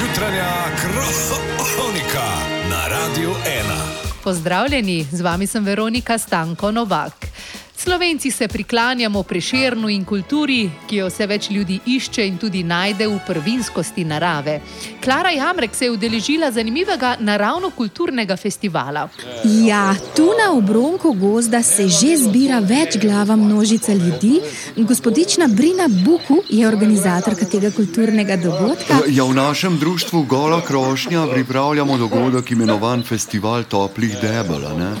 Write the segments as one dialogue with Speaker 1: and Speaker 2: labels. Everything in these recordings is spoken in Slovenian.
Speaker 1: jutranja kronika na Radiu 1.
Speaker 2: Pozdravljeni, z vami sem Veronika Stanko Novak. Slovenci se priklanjamo preširnu in kulturi, ki jo vse več ljudi išče in tudi najde v prvinskosti narave. Klara Jamrek se je udeležila zanimivega naravno-kulturnega festivala.
Speaker 3: Ja, tu na obronku gozda se že zbira večglava množica ljudi. Gospodična Brina Buku je organizatorka tega kulturnega dogodka.
Speaker 4: Ja, v našem društvu Gola Krošnja pripravljamo dogodek imenovan Festival toplih debel. a ne.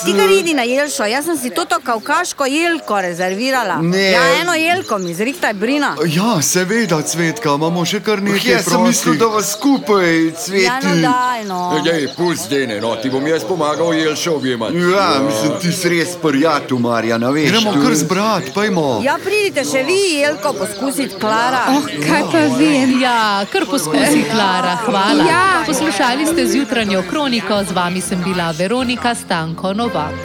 Speaker 5: Ti gre idi na jelšo, jaz sem si to to kavkaško jelko rezervirala.
Speaker 6: Ne.
Speaker 5: Ja, eno jelko mi zrihtaj, Brina.
Speaker 4: Ja, seveda, cvetka, imamo še kar
Speaker 6: Nekaj
Speaker 4: nekaj
Speaker 6: Jaz ja, sem mislil, da vas skupaj cveti.
Speaker 5: Ja, no daj,
Speaker 6: eh.
Speaker 5: no.
Speaker 7: Ej, pusti, Dene, no, ti bom jaz pomagal, Jelša, objemati.
Speaker 6: Ja, mislim, ti si res prijatelj, Marjan, a veš.
Speaker 4: Gremo
Speaker 6: tu-
Speaker 4: kar zbrat, pojmo.
Speaker 5: Ja, pridite še vi jelko poskusiti, Klara.
Speaker 3: Oh, kaj pa vem.
Speaker 2: Ja, kar poskusi, Klara, hvala. Ja. Poslušali ste z jutranjo kroniko, z vami sem bila Veronika Stanko Novak.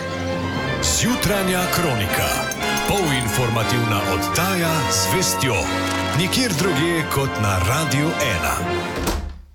Speaker 1: Zjutranja kronika. Polinformativna oddaja z vestjo. Nikjer drugje kot na Radiu 1.